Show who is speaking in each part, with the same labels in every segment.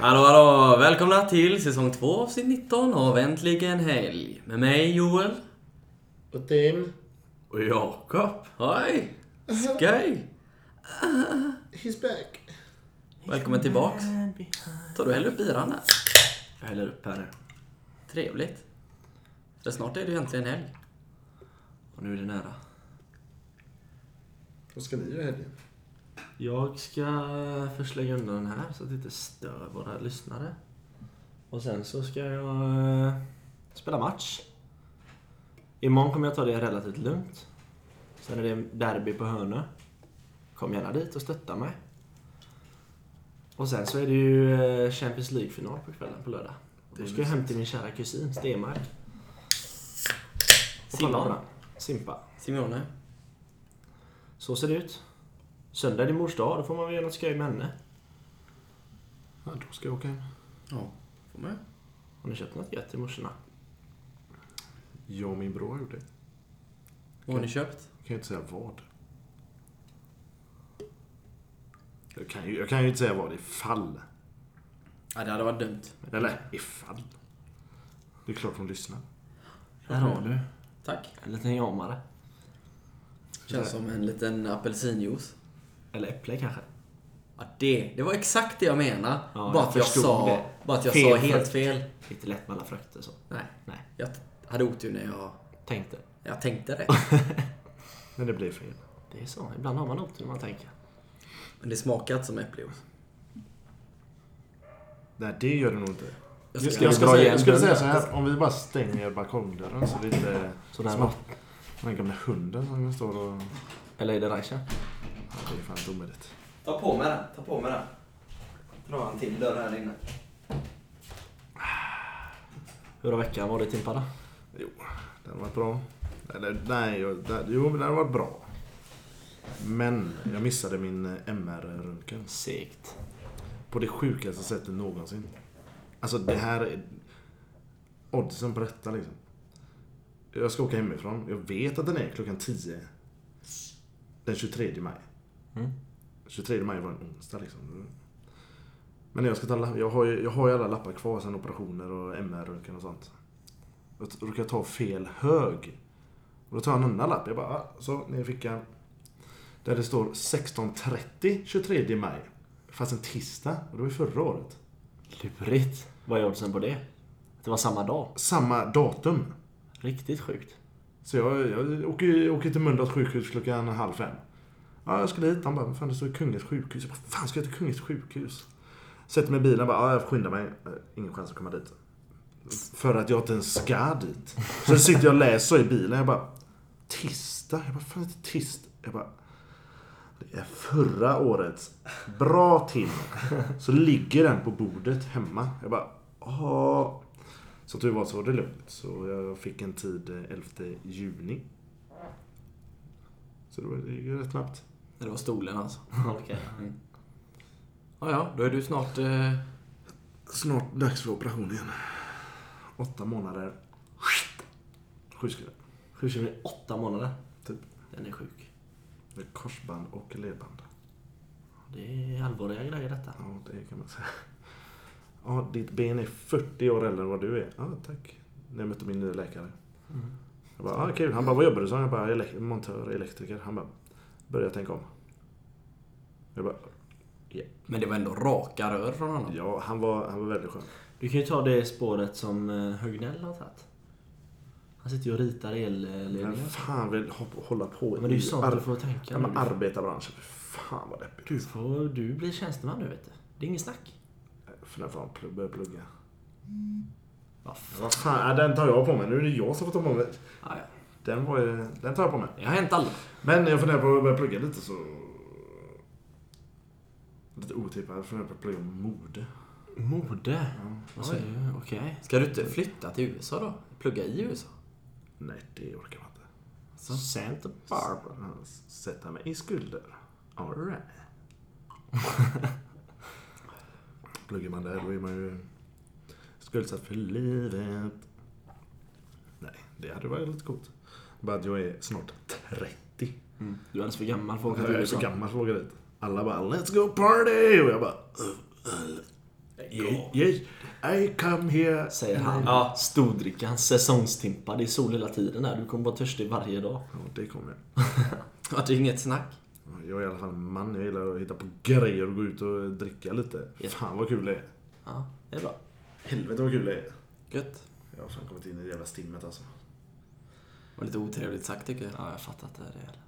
Speaker 1: Ja, välkomna till säsong 2 avsnitt 19 av Äntligen helg. Med mig Joel.
Speaker 2: Och Tim,
Speaker 1: Och Jakob. Hej! Skoj!
Speaker 2: he's back.
Speaker 1: Välkommen tillbaks. Tar du häller upp biran där?
Speaker 3: Jag häller upp här nu.
Speaker 1: Trevligt. För snart är det ju äntligen helg.
Speaker 3: Och nu är det nära.
Speaker 2: Vad ska ni göra i helgen?
Speaker 3: Jag ska först lägga undan den här så att det inte stör våra lyssnare. Och sen så ska jag eh, spela match. Imorgon kommer jag ta det relativt lugnt. Sen är det derby på Hönö. Kom gärna dit och stötta mig. Och sen så är det ju eh, Champions League-final på kvällen på lördag. Då ska jag hem till min kära kusin Stenmark. Och kolla på
Speaker 1: Simon.
Speaker 3: den. Simpa.
Speaker 1: Simone.
Speaker 3: Så ser det ut. Söndag är det mors dag, då får man väl göra något skoj med henne.
Speaker 2: Ja, då ska jag åka hem.
Speaker 1: Ja, får med.
Speaker 3: Har ni köpt något gött till morsorna?
Speaker 2: Jag och min bror gjorde det.
Speaker 1: Vad har ni köpt?
Speaker 2: Jag kan ju inte säga vad. Jag kan, ju, jag kan ju inte säga vad, ifall.
Speaker 1: Ja, det hade varit dumt.
Speaker 2: Eller ifall. Det är klart hon lyssnar.
Speaker 3: Där har du.
Speaker 1: Tack.
Speaker 3: En liten jamare.
Speaker 1: Känns som en liten apelsinjuice.
Speaker 3: Eller äpple kanske.
Speaker 1: Ja, det, det var exakt det jag menade.
Speaker 3: Ja,
Speaker 1: bara,
Speaker 3: jag
Speaker 1: att jag
Speaker 3: förstod
Speaker 1: sa,
Speaker 3: det.
Speaker 1: bara att jag
Speaker 3: Fel
Speaker 1: sa helt
Speaker 3: frukt.
Speaker 1: fel.
Speaker 3: Lite lätt med alla frukter så.
Speaker 1: Nej,
Speaker 3: Nej,
Speaker 1: jag t- hade otur när jag,
Speaker 3: tänkte.
Speaker 1: när jag tänkte det.
Speaker 2: Men det blir fel.
Speaker 3: Det är så. Ibland har man otur när man tänker.
Speaker 1: Men det smakar inte som äppeljuice.
Speaker 2: Nej, det gör det nog inte.
Speaker 1: Jag ska-
Speaker 2: Jag, ska,
Speaker 3: vi
Speaker 2: jag, ska
Speaker 3: dra
Speaker 2: säga,
Speaker 3: igen
Speaker 2: jag skulle
Speaker 3: den
Speaker 2: säga så här, om vi bara stänger balkongdörren så det inte...
Speaker 3: Så där
Speaker 2: som
Speaker 3: var-
Speaker 2: att- Den gamla hunden som står och...
Speaker 3: Eller är det Reicha?
Speaker 2: Ja, det är fan inte omöjligt.
Speaker 3: Ta på mig den. Ta på mig den. Dra en till dörr här inne. Hur har veckan varit Timpada?
Speaker 2: Jo, den har varit bra. Eller nej, jag, den, jo men den har varit bra. Men jag missade min eh, MR-röntgen.
Speaker 3: Segt.
Speaker 2: På det sjukaste sättet någonsin. Alltså det här... är- Oddsen på detta liksom. Jag ska åka hemifrån. Jag vet att den är klockan 10. Den 23 maj.
Speaker 3: Mm.
Speaker 2: 23 maj var en onsdag liksom. Mm. Men jag, ska ta, la- jag, har ju, jag har ju alla lappar kvar sen operationer och MR-röntgen och sånt. Jag t- råkar ta fel hög. Och då tar jag en annan lapp. Jag bara, ah, så ner i fickan. Där det står 16.30 23 maj. Fast en tisdag. Och det var ju förra året.
Speaker 3: Lurigt. Vad är oddsen på det? Det var samma dag.
Speaker 2: Samma datum.
Speaker 3: Riktigt sjukt.
Speaker 2: Så jag, jag åker, ju- åker till Mölndals sjukhus klockan halv fem. Ja, jag skulle hit. Han bara, "Vad fan det står Kungligt sjukhus. Jag bara, fan ska jag till Kungligt sjukhus? Sätter mig i bilen och bara, ja jag skyndar mig. Eh, Ingen chans att komma dit. För att jag inte ens ska dit. Så sitter jag och läser i bilen. Jag bara, tisdag? Jag bara, fan inte tisdag? Jag bara, det är förra årets. Bra till. Så ligger den på bordet hemma. Jag bara, ja. Så tur var så var det lugnt. Så jag fick en tid eh, 11 juni. Så det var det gick ju rätt snabbt.
Speaker 1: Det var stolen alltså.
Speaker 3: Okej.
Speaker 1: Ja, ja, då är du snart... Eh,
Speaker 2: Snart dags för operation igen. Åtta månader. Sju skulle jag.
Speaker 3: Sju kilo i åtta månader.
Speaker 2: Typ.
Speaker 3: Den är sjuk.
Speaker 2: Med korsband och ledband.
Speaker 3: Det är allvarliga grejer detta.
Speaker 2: Ja, det kan man säga. Ja, ditt ben är 40 år äldre än vad du är. Ja, tack. När jag mötte min nya läkare. Jag bara, ah, kul. Han bara, vad jobbar du som? Jag bara, elek- montör, elektriker. Han bara, börja tänka om. Jag bara,
Speaker 1: men det var ändå raka rör från honom.
Speaker 2: ja, han var, han var väldigt skön.
Speaker 3: Du kan ju ta det spåret som eh, Högnell har tagit. Han sitter ju och ritar elledningar.
Speaker 2: Men fan vill hop- hålla på
Speaker 3: Men det är ju
Speaker 2: i
Speaker 3: sånt
Speaker 2: ar-
Speaker 3: du får tänka.
Speaker 2: ja, men
Speaker 3: nu.
Speaker 2: arbetarbranschen. Fy Fan vad deppigt.
Speaker 3: du, får, du blir tjänsteman nu vet du. Det är inget snack.
Speaker 2: För när fan pl- börjar plugga.
Speaker 3: Va fan.
Speaker 2: Vad fan, ja, den tar jag på mig. Nu är det jag som får ta på mig.
Speaker 3: Ja, ja.
Speaker 2: Den, var, ju- den tar jag på mig.
Speaker 1: Det har hänt alla.
Speaker 2: Men jag funderar på att börja plugga lite så... Lite otippat. Jag funderar på att plugga mode.
Speaker 3: Mode. Vad säger
Speaker 1: Oj.
Speaker 3: du? Okej.
Speaker 1: Ska du inte flytta till USA då? Plugga i USA?
Speaker 2: Nej, det orkar man inte. Alltså,
Speaker 3: Santa Barbara.
Speaker 2: Ja, s- Sätta mig i skulder. Alright. Pluggar man där då är man ju skuldsatt för livet. Nej, det hade varit lite coolt. Bara att jag är snart 30.
Speaker 3: Mm. Du är alldeles för gammal för att åka
Speaker 2: Jag
Speaker 3: till
Speaker 2: är så
Speaker 3: USA.
Speaker 2: "Äh, gammal för att åka dit. Alla bara “Let's go party!” och jag bara "Ugh, ugh, Yay, yay. I come here.
Speaker 3: Säger han.
Speaker 1: Ja.
Speaker 3: Stordrickan, säsongstimpa. Det är sol hela tiden här. Du kommer vara törstig varje dag.
Speaker 2: Ja, det kommer jag.
Speaker 1: Ja, det är inget snack.
Speaker 2: Jag är i alla fall en man. Jag gillar att hitta på grejer och gå ut och dricka lite.
Speaker 3: Ja.
Speaker 2: Fan vad kul det är.
Speaker 3: Ja, det är bra.
Speaker 2: Helvete vad kul det är.
Speaker 1: Gött.
Speaker 2: Jag har fan kommit in i det jävla stimmet alltså.
Speaker 1: Det var lite otrevligt sagt tycker jag.
Speaker 3: Ja, jag fattar inte det heller.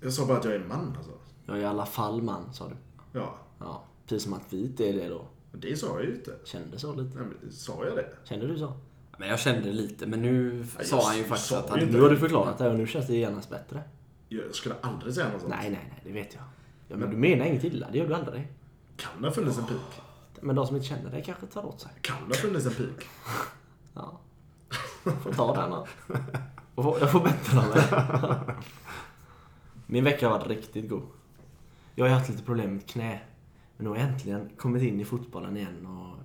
Speaker 2: Jag sa bara att jag är en man alltså.
Speaker 3: Jag är i alla fall man, sa du.
Speaker 2: Ja,
Speaker 3: Ja, precis som att vit är det då.
Speaker 2: men det sa jag ju inte.
Speaker 3: Kände så lite.
Speaker 2: Nej, men, sa jag det?
Speaker 3: Kände du så?
Speaker 1: Men jag kände det lite, men nu
Speaker 2: jag
Speaker 1: sa han ju
Speaker 2: sa
Speaker 1: faktiskt
Speaker 2: ju
Speaker 1: att han...
Speaker 2: inte.
Speaker 3: Nu har du förklarat det och nu känns det genast bättre.
Speaker 2: Jag skulle aldrig säga något sånt.
Speaker 3: Nej, nej, nej, det vet jag. Ja, men du menar inget illa, det gör du aldrig.
Speaker 2: Kan det ha funnits en pik?
Speaker 3: Men de som inte känner dig kanske tar åt sig.
Speaker 2: Kan det ha funnits en pik?
Speaker 3: Ja. Får ta den då. Jag får- Jag får bättre mig. Min vecka har varit riktigt god. Jag har ju haft lite problem med knä. Men nu har jag äntligen kommit in i fotbollen igen och...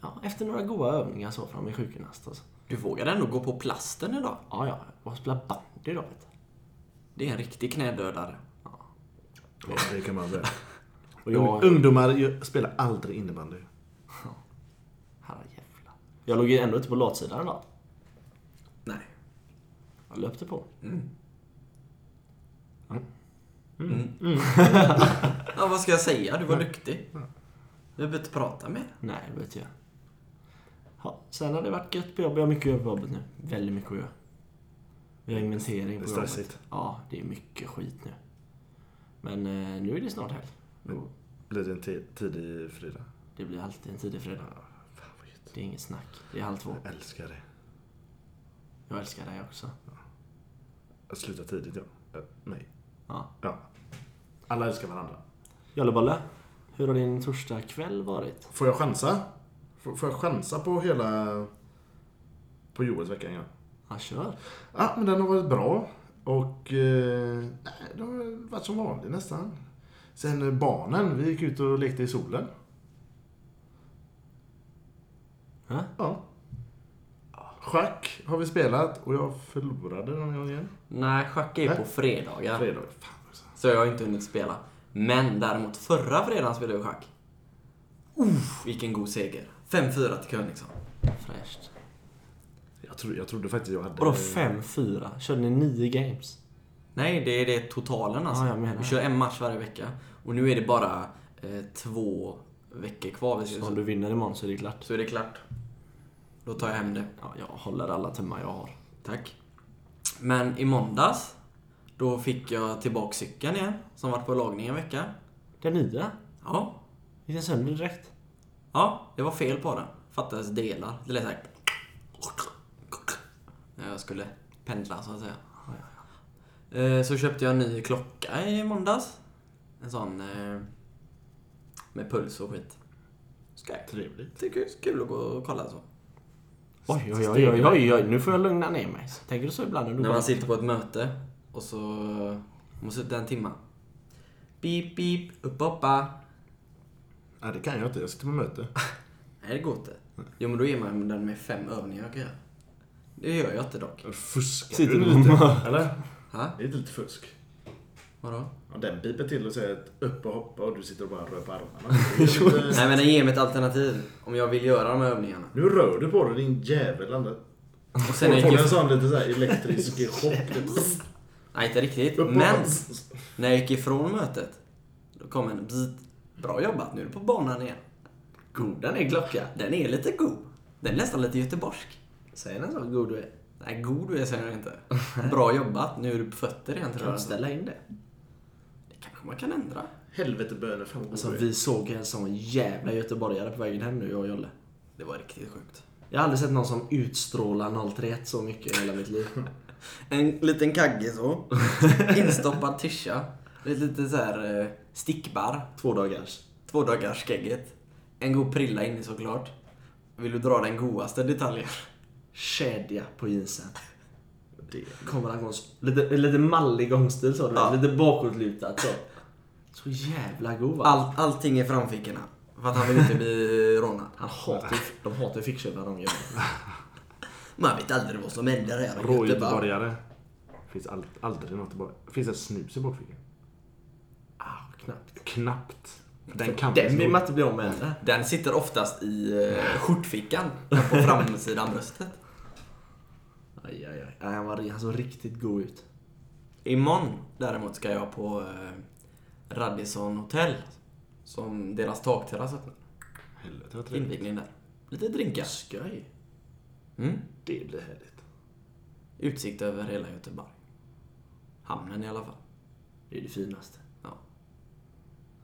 Speaker 3: Ja, efter några goda övningar så från min sjukgymnast alltså.
Speaker 1: Du vågade ändå gå på plasten idag.
Speaker 3: Ja, ja. Jag spelar bandy då vet du.
Speaker 1: Det är en riktig knädödare.
Speaker 2: Ja, det kan man säga.
Speaker 3: Och jag...
Speaker 2: Ungdomar ju- spelar aldrig innebandy.
Speaker 3: Herrejävlar. Jag låg ju ändå inte på latsidan idag.
Speaker 1: Nej.
Speaker 3: Jag löpte på.
Speaker 1: Ja, vad ska jag säga? Du var duktig. Du behöver inte prata mer.
Speaker 3: Nej, det vet jag. Ja, sen har det varit gött på jobbet. Jag har mycket att göra på jobbet nu. Väldigt mycket att göra. Vi har inventering på
Speaker 2: Det är
Speaker 3: jobbet.
Speaker 2: stressigt.
Speaker 3: Ja, det är mycket skit nu. Men eh, nu är det snart helg.
Speaker 2: Men blir det en ti- tidig fredag?
Speaker 3: Det blir alltid en tidig fredag.
Speaker 2: Fan vad gött.
Speaker 3: Det är inget snack. Det är halv två.
Speaker 2: Jag älskar det.
Speaker 3: Jag älskar dig också.
Speaker 2: Att sluta tidigt, ja. Eh, Nej.
Speaker 3: Ja.
Speaker 2: Ja. Alla älskar varandra.
Speaker 3: Jollebolle, hur har din torsdag kväll varit?
Speaker 2: Får jag chansa? Får får jag chansa på hela... På Joels vecka igen?
Speaker 3: Ja, kör.
Speaker 2: Ja, men den har varit bra. Och eh, nej, det har varit som vanligt nästan. Sen eh, barnen, vi gick ut och lekte i solen.
Speaker 3: Hä?
Speaker 2: Ja. Schack har vi spelat och jag förlorade någon gång igen.
Speaker 1: Nej, schack är
Speaker 2: Nej.
Speaker 1: på fredagar.
Speaker 2: Fredag. Fan alltså. också.
Speaker 1: Så jag har inte hunnit spela. Men däremot förra fredagen spelade jag schack. Uff, vilken god seger. 5-4 till liksom. Königsson.
Speaker 3: Fräscht.
Speaker 2: Jag, tro, jag trodde faktiskt jag hade...
Speaker 3: Vadå 5-4? Körde ni nio games?
Speaker 1: Nej, det är det totalen alltså.
Speaker 3: Ja, jag menar
Speaker 1: Vi kör en match varje vecka. Och nu är det bara eh, två veckor kvar. Vi
Speaker 3: Så om
Speaker 1: ska,
Speaker 3: du vinner imorgon så är det klart.
Speaker 1: så är det klart. Då tar jag hem det.
Speaker 3: Ja, jag håller alla tummar jag har.
Speaker 1: Tack. Men i måndags, då fick jag tillbaka cykeln igen, som varit på lagning en vecka.
Speaker 3: Den nya?
Speaker 1: Ja,
Speaker 3: Gick den sönder direkt?
Speaker 1: ja, det var fel på den. Fattades delar. Det lät såhär... När jag skulle pendla, så att säga. Eh, Så köpte jag en ny klocka i måndags. En sån eh, med puls och skit. Skoj.
Speaker 2: Trevligt.
Speaker 1: Tycker det är kul att gå och kolla så.
Speaker 3: Oj, oj, oj, oj, oj, oj, nu får jag lugna ner mig. Tänker du så ibland när du
Speaker 1: När
Speaker 3: bara-
Speaker 1: man sitter på ett möte och så måste sitta en timma. Beep, beep, upp, hoppa.
Speaker 2: Nej, det kan jag inte. Jag sitter på möte.
Speaker 1: Nej, det går inte. Jo, men då ger man den med fem övningar kan jag. Det gör jag inte dock.
Speaker 2: Fuskar
Speaker 3: Sitter
Speaker 2: du
Speaker 3: du
Speaker 2: lite?
Speaker 3: på möte?
Speaker 2: Eller?
Speaker 1: Ha?
Speaker 2: Det är lite fusk.
Speaker 1: Vadå?
Speaker 2: Ja, den piper till och säger att upp och hoppa och du sitter och bara rör på armarna. Det är lite-
Speaker 1: Nej, men den ger mig ett alternativ om jag vill göra de här övningarna.
Speaker 2: nu rör du på dig din jävel. Anders.
Speaker 1: Och sen
Speaker 2: Sen
Speaker 1: är
Speaker 2: får en
Speaker 1: det...
Speaker 2: sån lite så här elektrisk chock. Typ.
Speaker 1: Nej, inte riktigt.
Speaker 2: Upp och-
Speaker 1: Men när jag gick ifrån mötet, då kom en bzzzt. Bra jobbat, nu är du på banan igen.
Speaker 3: God, den är glocka.
Speaker 1: Den är lite god. Den är nästan lite göteborgsk.
Speaker 3: Säger den så god du är?
Speaker 1: Nej, god du är säger jag inte. Bra jobbat, nu är du på fötter igen.
Speaker 3: Kan
Speaker 1: Tror
Speaker 3: du
Speaker 1: jag.
Speaker 3: ställa in det?
Speaker 1: Det kanske man kan ändra.
Speaker 2: Helvetebönor, fan vad
Speaker 3: Alltså,
Speaker 2: god du är.
Speaker 3: vi såg en sån jävla göteborgare på vägen hem nu, jag och Jolle.
Speaker 1: Det var riktigt sjukt.
Speaker 3: Jag har aldrig sett någon som utstrålar 031 så mycket i hela mitt liv.
Speaker 1: En liten kagge så. Instoppad tischa. Ett litet så här eh, stickbar.
Speaker 3: Två dagars.
Speaker 1: Två dagars skägget. En god prilla inne såklart. Vill du dra den godaste detaljen?
Speaker 3: Kedja på jeansen.
Speaker 2: Det.
Speaker 3: Kommer han gå en s- lite, lite mallig gångstil så, du
Speaker 1: Ja.
Speaker 3: vet. lite bakåtlutat så. Så jävla god va?
Speaker 1: All, allting i framfickorna. För att han vill inte bli rånad.
Speaker 3: Han hatar, de hatar ju fickköpare de grejerna.
Speaker 1: Man vet aldrig vad som händer här i
Speaker 2: Rå
Speaker 1: Göteborg.
Speaker 2: göteborgare. Finns all, aldrig något i bak- Finns det snus i bakfickan?
Speaker 3: Ah, knappt.
Speaker 2: Knappt. Den kan
Speaker 3: Den vill man inte bli av med heller.
Speaker 1: Den sitter oftast i eh, skjortfickan, den på framsidan bröstet.
Speaker 3: Aj, aj, aj. Nej, han, var, han såg riktigt god ut.
Speaker 1: Imorgon däremot ska jag på eh, Radisson hotell. Som deras takterrass öppnar.
Speaker 2: Helvete vad trevligt.
Speaker 1: Invigning där. Lite drinkar.
Speaker 3: Skoj.
Speaker 1: Mm.
Speaker 3: Det blir härligt.
Speaker 1: Utsikt över hela Göteborg. Hamnen i alla fall.
Speaker 3: Det är det finaste.
Speaker 1: Ja.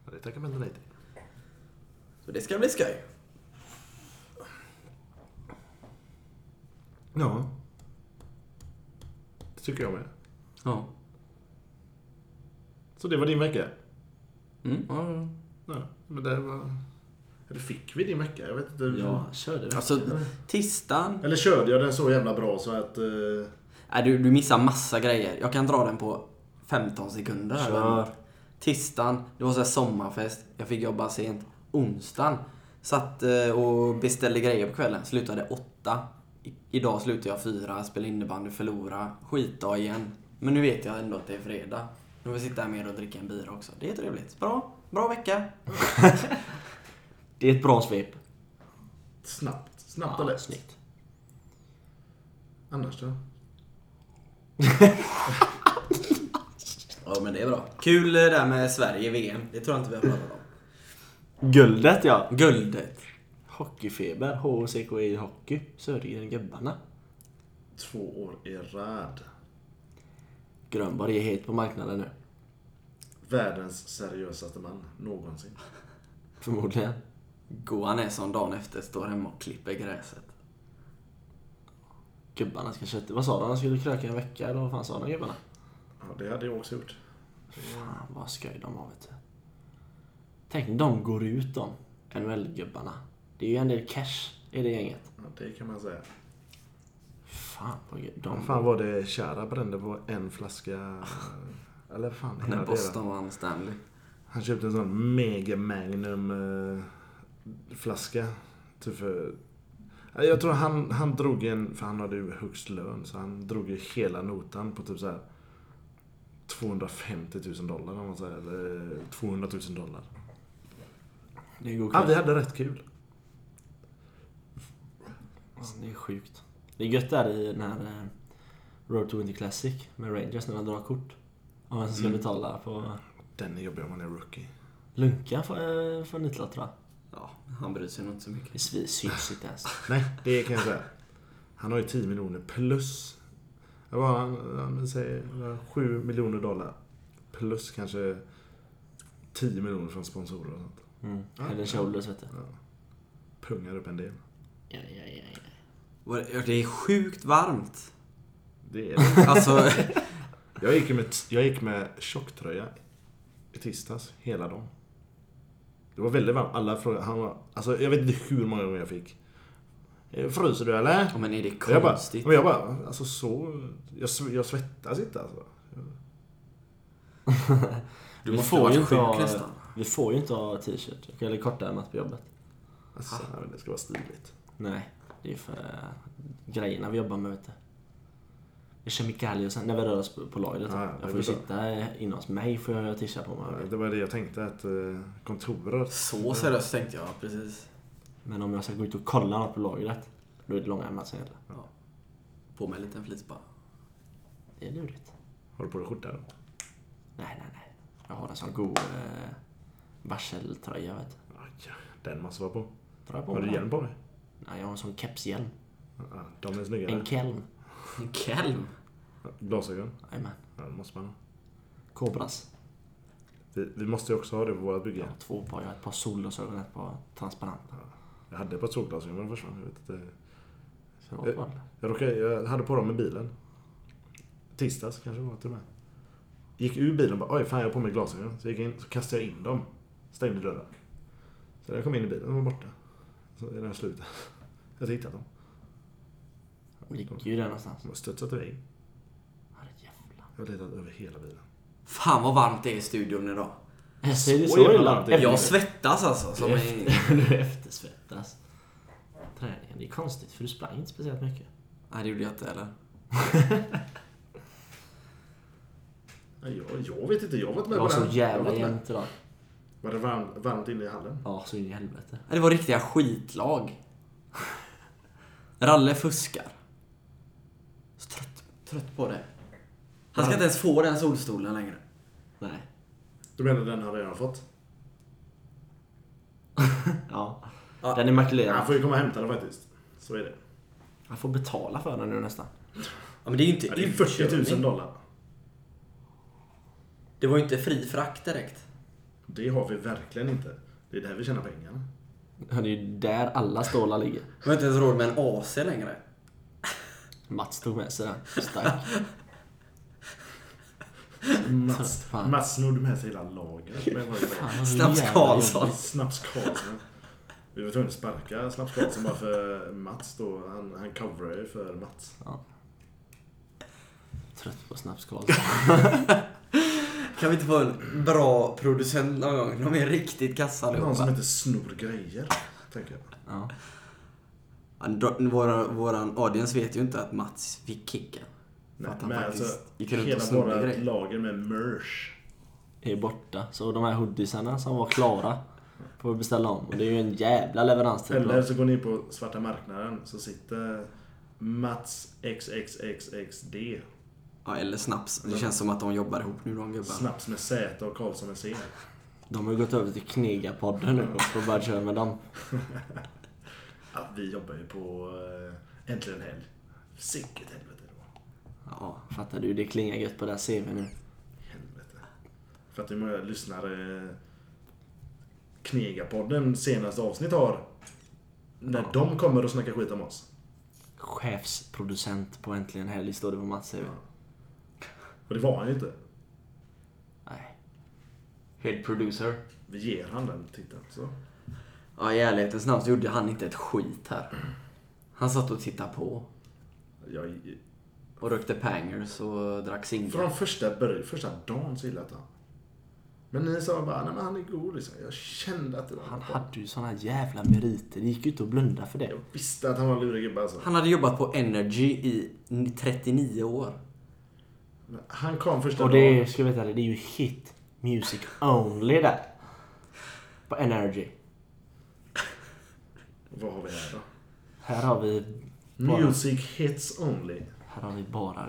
Speaker 2: Ja, Det tackar man inte nej till.
Speaker 1: Så det ska bli skoj.
Speaker 2: Ja. Det tycker jag med.
Speaker 1: Ja.
Speaker 2: Så det var din vecka?
Speaker 1: Mm. ja, ja.
Speaker 2: Ja, men det var... Eller fick vi din vecka? Jag vet inte.
Speaker 3: Ja, kör det.
Speaker 1: Alltså, tisdagen.
Speaker 2: Eller körde jag den så jävla bra så att... eh,
Speaker 1: Nej, Äh, du, du missar massa grejer. Jag kan dra den på 15 sekunder. här.
Speaker 3: Kör.
Speaker 1: Tisdagen, det var så här sommarfest. Jag fick jobba sent. Onsdagen, satt eh, och beställde grejer på kvällen. Slutade åtta. I, idag slutade jag fyra, spelade innebandy, förlora. Skitdag igen. Men nu vet jag ändå att det är fredag. Nu vill jag sitta här med er och dricka en bira också. Det är trevligt. Bra. Bra vecka.
Speaker 3: Det är ett bra svep.
Speaker 2: snabbt. Snabbt och lätt.
Speaker 3: snyggt.
Speaker 2: Annars då?
Speaker 1: Ja, men det är bra. Kul eh, det där med Sverige i VM. Det tror jag inte vi har pratat om.
Speaker 3: Guldet ja.
Speaker 1: Guldet.
Speaker 3: Hockeyfeber. HCKI Hockey. Sörjer gubbarna.
Speaker 2: Två år i rad.
Speaker 3: Grönborg är het på marknaden nu.
Speaker 2: Världens seriösaste man någonsin.
Speaker 3: Förmodligen.
Speaker 1: Goan är som dagen efter står hemma och klipper gräset.
Speaker 3: Gubbarna ska köta. Vad sa de? De skulle kröka en vecka eller vad fan sa de gubbarna?
Speaker 2: Ja, det hade jag också gjort.
Speaker 3: Fan vad skoj de har vet du. Tänk de går ut de. NHL-gubbarna. Det är ju en del cash i det gänget.
Speaker 2: Ja, det kan man säga.
Speaker 3: Fan vad gött.
Speaker 2: Vad
Speaker 3: De...
Speaker 2: fan var det Kära brände på en flaska... Eller fan hela
Speaker 1: När
Speaker 2: det
Speaker 1: Boston vann Stanley.
Speaker 2: Han köpte en sån mega magnum eh, flaska. Typ för... Ja, Jag tror han, han drog en, för han hade ju högst lön, så han drog ju hela notan på typ så här 250 000 dollar om man säger, eller 200 000 dollar.
Speaker 3: Det går
Speaker 2: Ja, vi hade rätt kul.
Speaker 3: Alltså, det är sjukt. Det är gött där i den här eh, Road to Winter Classic med Rangers när de drar kort. Om vem som
Speaker 2: Mm.
Speaker 3: ska betala på
Speaker 2: Den är jobbig om man är rookie.
Speaker 3: lunkan för, eh, för Nitla tror jag.
Speaker 1: Ja, han bryr sig nog inte så mycket.
Speaker 3: Det svi- alltså. syns inte ens.
Speaker 2: Nej, det kan jag säga. Han har ju 10 miljoner plus. Vad var han? han? Säger 7 miljoner dollar. Plus kanske 10 miljoner från sponsorer och sånt.
Speaker 3: Mm. Head and shoulders vet du.
Speaker 2: pungar upp en del.
Speaker 3: Ja, ja, ja, ja.
Speaker 1: Och det- ja, Det är sjukt varmt.
Speaker 2: Det är det.
Speaker 1: Alltså,
Speaker 2: Jag gick ju med, jag gick med tjocktröja i tisdags, hela dagen. Det var väldigt varmt. Alla frågade, han var, alltså jag vet inte hur många gånger jag fick. "Eh, Fryser du eller?
Speaker 1: ja, men är det
Speaker 2: Och Jag bara,
Speaker 1: konstigt?
Speaker 2: men jag bara, alltså så, jag, sv- jag svettas inte alltså.
Speaker 1: Du
Speaker 3: Vi
Speaker 1: måste
Speaker 3: får
Speaker 1: ha varit
Speaker 3: ju inte
Speaker 1: sjuk
Speaker 3: ha-
Speaker 1: nästan.
Speaker 3: Vi får ju inte ha t-shirt eller kortärmat på jobbet.
Speaker 2: alltså nej, men det ska vara stiligt.
Speaker 3: Nej, det är för eh, grejerna vi jobbar med vet du. Det är kemikalier och sen när vi rör oss på- på lagret.
Speaker 2: Ja, ja, det
Speaker 3: jag får ju
Speaker 2: är bra.
Speaker 3: sitta eh, inne hos mig får jag ha t-shirt på mig.
Speaker 2: Det var det jag tänkte, att eh, kontoret...
Speaker 1: Så seriöst tänkte jag precis.
Speaker 3: Men om jag ska gå ut och kolla något på lagret, då är det långa ärmar som gäller.
Speaker 1: Ja. På med en liten flis bara.
Speaker 3: Det är lurigt.
Speaker 2: Har du på dig skjorta? då?
Speaker 3: Nej, nej, nej. Jag har en sån god eh, varseltröja vet du.
Speaker 2: Aj, ja, den måste vara på.
Speaker 3: Drar jag på
Speaker 2: Har
Speaker 3: mig
Speaker 2: du
Speaker 3: den?
Speaker 2: hjälm på dig?
Speaker 3: Nej, jag har en sån kepshjälm.
Speaker 2: Ja, de är snyggare.
Speaker 3: En kelm.
Speaker 1: En kelm.
Speaker 2: Glasögon?
Speaker 3: Jajamän.
Speaker 2: Ja, det måste man ha.
Speaker 3: Kobras.
Speaker 2: Vi, vi måste ju också ha det på vårt bygge.
Speaker 3: Jag har två par. Jag har ett par solglasögon och ett par transparenta.
Speaker 2: Jag hade ett par solglasögon men de försvann. Jag, vet inte.
Speaker 3: Så det var
Speaker 2: Eh,
Speaker 3: bra.
Speaker 2: jag, råkade, jag hade på dem i bilen. Tisdags kanske det var till och med. Gick ur bilen och bara oj fan jag har på mig glasögon. Så, gick jag in, så kastade jag in dem. Stängde dörren. Så när jag kom in i bilen, de var borta. Så när jag slutade. Jag hade hittat dem.
Speaker 3: Det gick ju där någonstans.
Speaker 2: De har studsat iväg.
Speaker 3: Herrejävlar.
Speaker 2: Jag har letat över hela bilen.
Speaker 1: Fan vad varmt det är i studion idag.
Speaker 3: Jag säger det
Speaker 2: Så
Speaker 3: så
Speaker 2: jävla
Speaker 3: illa.
Speaker 2: varmt det är.
Speaker 3: Efter-
Speaker 1: Jag svettas alltså. Som en...
Speaker 3: Du eftersvettas. Träningen, det är konstigt för du sprang inte speciellt mycket.
Speaker 1: Nej, det gjorde jag inte heller.
Speaker 2: Nej, jag, jag vet inte, jag har varit med
Speaker 3: Jag var
Speaker 2: på
Speaker 3: så
Speaker 2: den. Jag har
Speaker 3: jävla
Speaker 2: varit med.
Speaker 3: jämnt idag.
Speaker 2: Var det varmt, varmt inne i hallen?
Speaker 3: Ja, så in i helvete.
Speaker 1: Ja, Det var riktiga skitlag. Ralle fuskar. Så trött, trött på det. Han ska inte ens få den solstolen längre.
Speaker 3: Nej.
Speaker 2: Du menar den har redan fått?
Speaker 3: Ja.
Speaker 1: Ja.
Speaker 3: Den är
Speaker 2: Han
Speaker 3: makulerad.
Speaker 2: får ju komma och hämta den faktiskt. Så är det.
Speaker 3: Han får betala för den nu nästan.
Speaker 1: Ja, men det är ju inte
Speaker 2: Ja, det är 40 000 dollar.
Speaker 1: Det var ju inte fri frakt direkt.
Speaker 2: Det har vi verkligen inte. Det är där vi tjänar pengarna.
Speaker 3: Ja, det är ju där alla stålar ligger.
Speaker 1: Vi har inte ens råd med en AC längre.
Speaker 3: Mats tog med sig den. Stark.
Speaker 2: Mats,
Speaker 3: Fan.
Speaker 2: Mats snodde med sig hela lagret. Men vad är det?
Speaker 1: Snaps Karlsson.
Speaker 2: Snaps Karlsson. Vi var tvungna att sparka Snaps Karlsson bara för Mats då. Han, han coverade ju för Mats.
Speaker 3: Trött på snaps Karlsson.
Speaker 1: Kan vi inte få en bra producent någon gång? De är riktigt kassa
Speaker 2: Någon som
Speaker 1: allihopa.
Speaker 2: inte snor grejer, tänker jag.
Speaker 3: Ja.
Speaker 1: Ja, dra- Våra, våran audience vet ju inte att Mats fick kicken.
Speaker 2: Nej,
Speaker 1: att han
Speaker 2: men
Speaker 1: faktiskt
Speaker 2: alltså,
Speaker 1: gick runt och
Speaker 2: hela
Speaker 1: snodde
Speaker 2: våra
Speaker 1: grejer.
Speaker 2: lager med merch.
Speaker 3: Är borta. Så de här hoodiesarna som var klara får vi beställa om. Och det är ju en jävla leveranstid.
Speaker 2: Eller
Speaker 3: då.
Speaker 2: så går ni in på svarta marknaden så sitter Mats XXXXD
Speaker 1: Ja, eller snaps. Det känns som att de jobbar ihop nu de gubbarna.
Speaker 2: Snaps med Z och Karlsson med C.
Speaker 3: De har ju gått över till Knega-podden nu och får börja köra med dem.
Speaker 2: Ja, vi jobbar ju på eh, Äntligen Helg. Sicket helvete det var.
Speaker 3: Ja, fattar du? Det klingar gött på det här CV nu.
Speaker 2: Helvete. För att hur många lyssnare eh, Knegapodden senaste avsnitt har. När de kommer och snackar skit om oss.
Speaker 3: Chefsproducent på Äntligen Helg står det på Mats CV.
Speaker 2: Och det var han ju inte.
Speaker 3: Nej.
Speaker 1: Head producer.
Speaker 2: Vi ger han den titeln. Så.
Speaker 1: Ja, i ärlighetens namn så gjorde han inte ett skit här. Han satt och tittade på.
Speaker 2: Jag,
Speaker 1: Och rökte pangers och drack
Speaker 2: Från
Speaker 1: singel.
Speaker 2: första början, första dagen så gillade jag han. Men ni sa bara, nej men han är god liksom. Jag kände att det var
Speaker 3: Han
Speaker 2: något.
Speaker 3: hade ju såna jävla meriter. Det gick ju inte att blunda för det.
Speaker 2: Jag visste att han var en lurig gubbe alltså.
Speaker 1: Han hade jobbat på Energy i 39 år.
Speaker 2: Men Han kom första
Speaker 3: Och det
Speaker 2: dagen.
Speaker 3: är, ska jag veta det, det är ju hit music only där. På Energy.
Speaker 2: Vad har vi här då?
Speaker 3: Här har vi bara,
Speaker 2: Music hits only.
Speaker 3: här har vi bara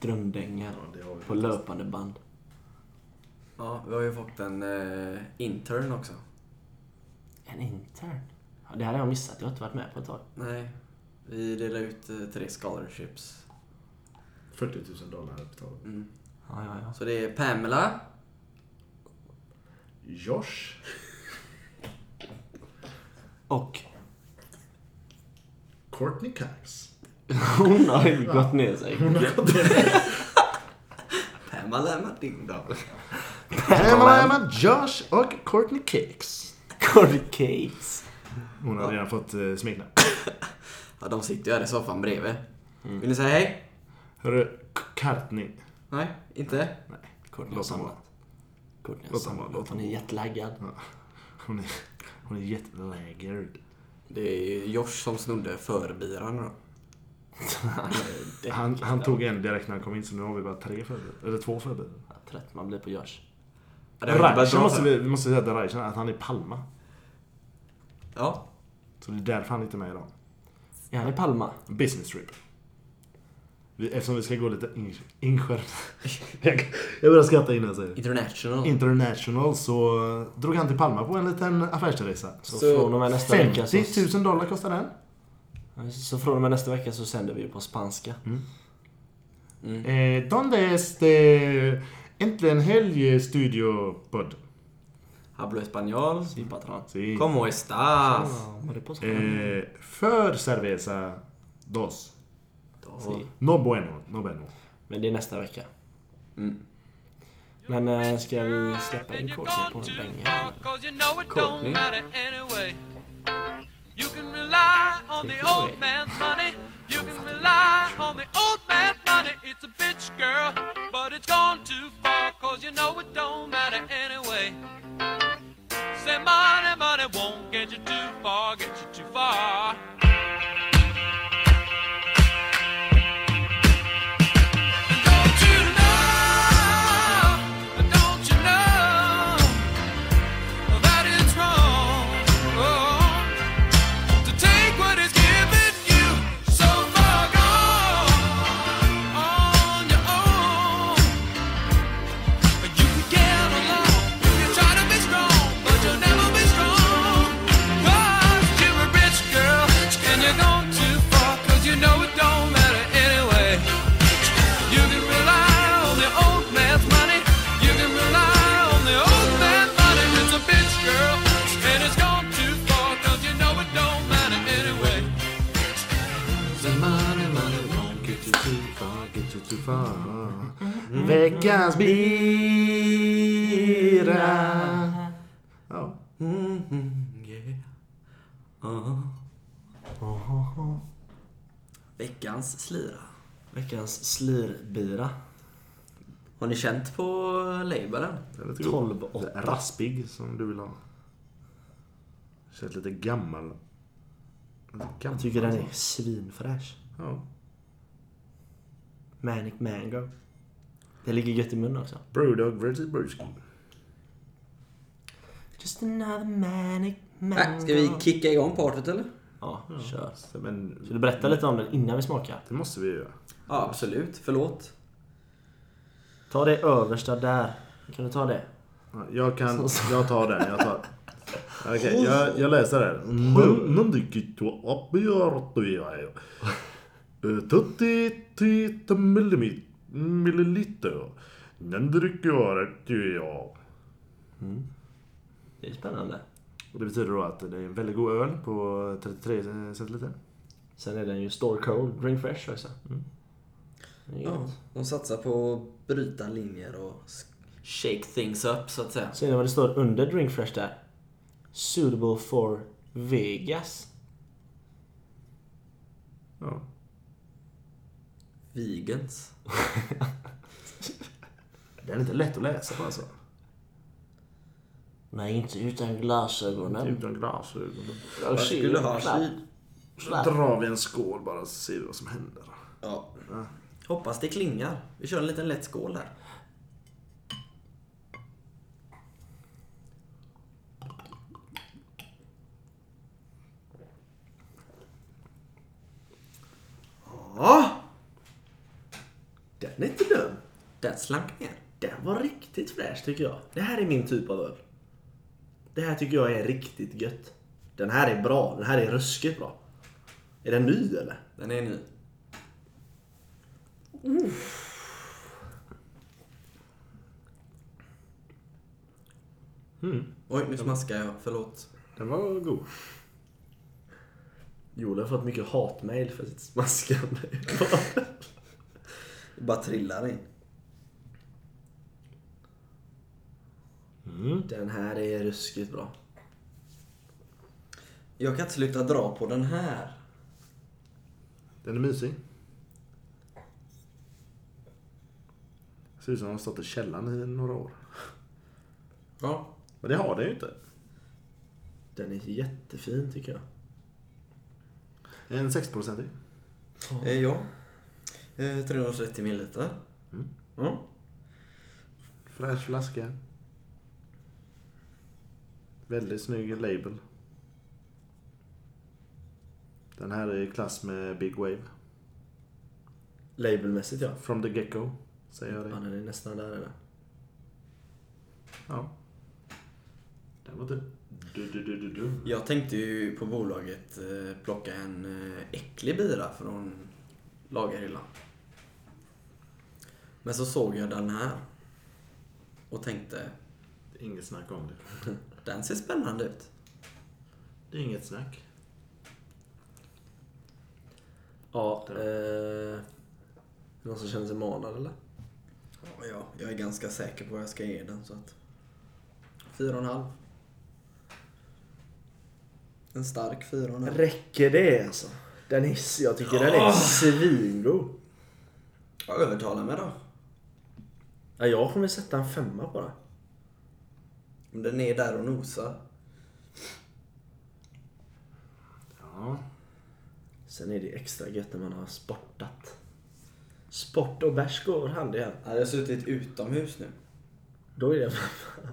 Speaker 3: drömdängor
Speaker 2: Ja, det har vi.
Speaker 3: på löpande band.
Speaker 1: Ja, vi har ju fått en eh, intern också.
Speaker 3: En intern? Ja, det här har jag missat. Jag har inte varit med på ett tag.
Speaker 1: Nej, vi delar ut eh, tre scholarships.
Speaker 2: 40 000 dollar betalat.
Speaker 1: Mm.
Speaker 3: Ja, ja, ja.
Speaker 1: Så det är Pamela,
Speaker 2: Josh.
Speaker 3: Och
Speaker 2: Courtney Cox.
Speaker 3: hon har ju gått ner sig.
Speaker 2: Hon har gått in.
Speaker 1: Pamela Martin då.
Speaker 2: Pamela, Emma, Josh och Courtney Cox.
Speaker 3: Corey Cakes.
Speaker 2: Hon har redan fått eh, smeknamn.
Speaker 1: Ja, de sitter ju här i soffan bredvid. Vill ni säga hej?
Speaker 2: Hörru, Courtney.
Speaker 1: Nej, inte?
Speaker 3: Courtney har
Speaker 2: Låt honom vara.
Speaker 3: samlat. Courtney har
Speaker 2: Låt honom vara,
Speaker 3: samlat.
Speaker 2: låt
Speaker 3: Hon är jättelaggad.
Speaker 2: Hon är, hon är jättelaggered.
Speaker 1: Det är Josh som snodde förbiran då.
Speaker 3: Han är däck-
Speaker 2: Han, han tog en direkt när han kom in, så nu har vi bara tre förberedda. Eller två förberedda.
Speaker 3: Vad trött man blir på Josh.
Speaker 1: Ja, det har inte börjat
Speaker 2: Reichen
Speaker 1: bra
Speaker 2: måste
Speaker 1: för-
Speaker 2: vi, vi måste säga att det är Reichen, att han är i Palma.
Speaker 1: Ja.
Speaker 2: Så det är därför han inte är med idag.
Speaker 3: Är han i Palma?
Speaker 2: Business trip. Vi, eftersom vi ska gå lite ing- ingeniör... jag jag börjar skratta innan jag säger det.
Speaker 1: International.
Speaker 2: International så eh, drog han till Palma på en liten affärsresa.
Speaker 3: Så,
Speaker 1: Så
Speaker 3: från och med nästa vecka så...
Speaker 2: 50 000 dollar kostar den.
Speaker 3: Så från och med nästa vecka så sänder vi ju på spanska. Mm.
Speaker 2: Eh, donde este... Äntligen helg studio podd.
Speaker 1: Hablo español.
Speaker 3: Vi patron.
Speaker 2: Sí.
Speaker 1: Como estas?
Speaker 3: Ah, var det på spanska?
Speaker 2: Eh, för cerveza dos.
Speaker 1: Då.
Speaker 2: No bueno, no bueno.
Speaker 3: Men det är nästa vecka.
Speaker 1: Mm.
Speaker 3: Men eh, ska vi släppa
Speaker 4: And
Speaker 3: in Courtney
Speaker 4: you're
Speaker 3: på en
Speaker 4: gone too
Speaker 3: länge?
Speaker 4: far, cause you know it
Speaker 1: Courtney.
Speaker 4: don't matter anyway. You can rely on
Speaker 3: Take
Speaker 4: the
Speaker 3: it away.
Speaker 4: old man's money. You can rely on the old man's money. It's a bitch, girl, but it's gone too far, cause you know it don't matter anyway. Say money, money won't get you too far, get you too far. Don't you know? Don't you know? Oh.
Speaker 2: Mm. Veckans bira. Ja.
Speaker 1: Mm, mm, yeah. Ah. Veckans slira.
Speaker 3: Veckans slirbira.
Speaker 1: Har ni känt på labelen?
Speaker 2: Väldigt god.
Speaker 3: 12-8.
Speaker 2: Raspig som du vill ha. Känns lite gammal. Lite gammal.
Speaker 3: Jag tycker den är svinfräsch.
Speaker 2: Ja.
Speaker 3: Manic mango. Det ligger gött i munnen också.
Speaker 2: Brewdog versus Brewski.
Speaker 3: Just another manic mango.
Speaker 1: Nej, ska vi kicka igång partyt eller?
Speaker 3: Ja, kör.
Speaker 2: Men
Speaker 3: Ska du berätta lite om den innan vi smakar?
Speaker 2: det måste vi ju göra.
Speaker 1: Ja, absolut. Förlåt.
Speaker 3: Ta det översta där. Kan du ta det?
Speaker 2: Ja, Jag kan... Jag tar den. Jag tar... Okej, jag, jag läser den. Munnen digito abbiartujajo. Tutti tita millimi- milliliter. Den dricker jag ja.
Speaker 3: Det är spännande.
Speaker 2: Och det betyder då att det är en väldigt god öl på 33 centiliter.
Speaker 3: Sen är den ju store cold, drink fresh också. Mm. Det är
Speaker 1: Ja,
Speaker 3: gött.
Speaker 1: de satsar på att bryta linjer och s- shake things up så att säga.
Speaker 3: Ser ni vad det står under drink fresh där? Suitable for Vegas.
Speaker 2: Ja.
Speaker 1: Vegans.
Speaker 2: Den är inte lätt att läsa på alltså.
Speaker 3: Nej, inte utan glasögonen.
Speaker 2: Utan glasögon.
Speaker 3: Jag ser
Speaker 1: skulle ha
Speaker 3: knappt.
Speaker 1: kyl.
Speaker 2: Så drar vi en skål bara så ser vi vad som händer.
Speaker 1: Ja. Hoppas det klingar. Vi kör en liten lätt skål här. Ja!
Speaker 3: Den är inte dum.
Speaker 1: Den slank ner.
Speaker 3: Den var riktigt fräsch tycker jag. Det här är min typ av öl. Det här tycker jag är riktigt gött. Den här är bra. Den här är ruskigt bra. Är den ny eller?
Speaker 1: Den är ny. Oj, nu smaskar jag. Förlåt.
Speaker 2: Den var god.
Speaker 3: Joel har fått mycket hatmejl för sitt smaskande.
Speaker 1: Det bara trillar in.
Speaker 3: den här är ruskigt bra.
Speaker 1: Jag kan inte sluta dra på den här.
Speaker 2: Den är mysig. Ser ut som den har stått i källaren i några år.
Speaker 1: Ja.
Speaker 2: Men det har den ju inte.
Speaker 3: Den är jättefin tycker jag.
Speaker 2: En 6-procentig.
Speaker 1: Eh, ja. Eh, 330 milliliter. Ja.
Speaker 2: Fräsch flaska. Väldigt snygg label. Den här är i klass med Big Wave.
Speaker 3: Labelmässigt ja.
Speaker 2: From the Gecko, säger jag
Speaker 3: Ja,
Speaker 2: det.
Speaker 3: den är nästan där redan.
Speaker 2: Ja. Den var du. Du, du, du, du, du.
Speaker 1: Jag tänkte ju på bolaget eh, plocka en eh, äcklig bira från lagerhyllan. Men så såg jag den här och tänkte,
Speaker 2: Inget snack om det.
Speaker 1: den ser spännande ut.
Speaker 2: Det är inget snack.
Speaker 3: Ja, eh, någon som känner sig manad eller?
Speaker 1: Ja, ja, jag är ganska säker på vad jag ska ge den så att... Fyra och en halv. En stark fyra och en halv.
Speaker 3: Räcker det alltså? Den är, jag tycker den
Speaker 1: Ah.
Speaker 3: är svingod.
Speaker 1: Ja, Övertala mig då.
Speaker 3: Ja, jag kommer sätta en femma på den.
Speaker 1: Om den är där och nosar.
Speaker 2: Ja.
Speaker 3: Sen är det ju extra gött när man har sportat. Sport och bärs går hand i hand.
Speaker 1: Hade jag suttit utomhus nu?
Speaker 3: Då är det en femma.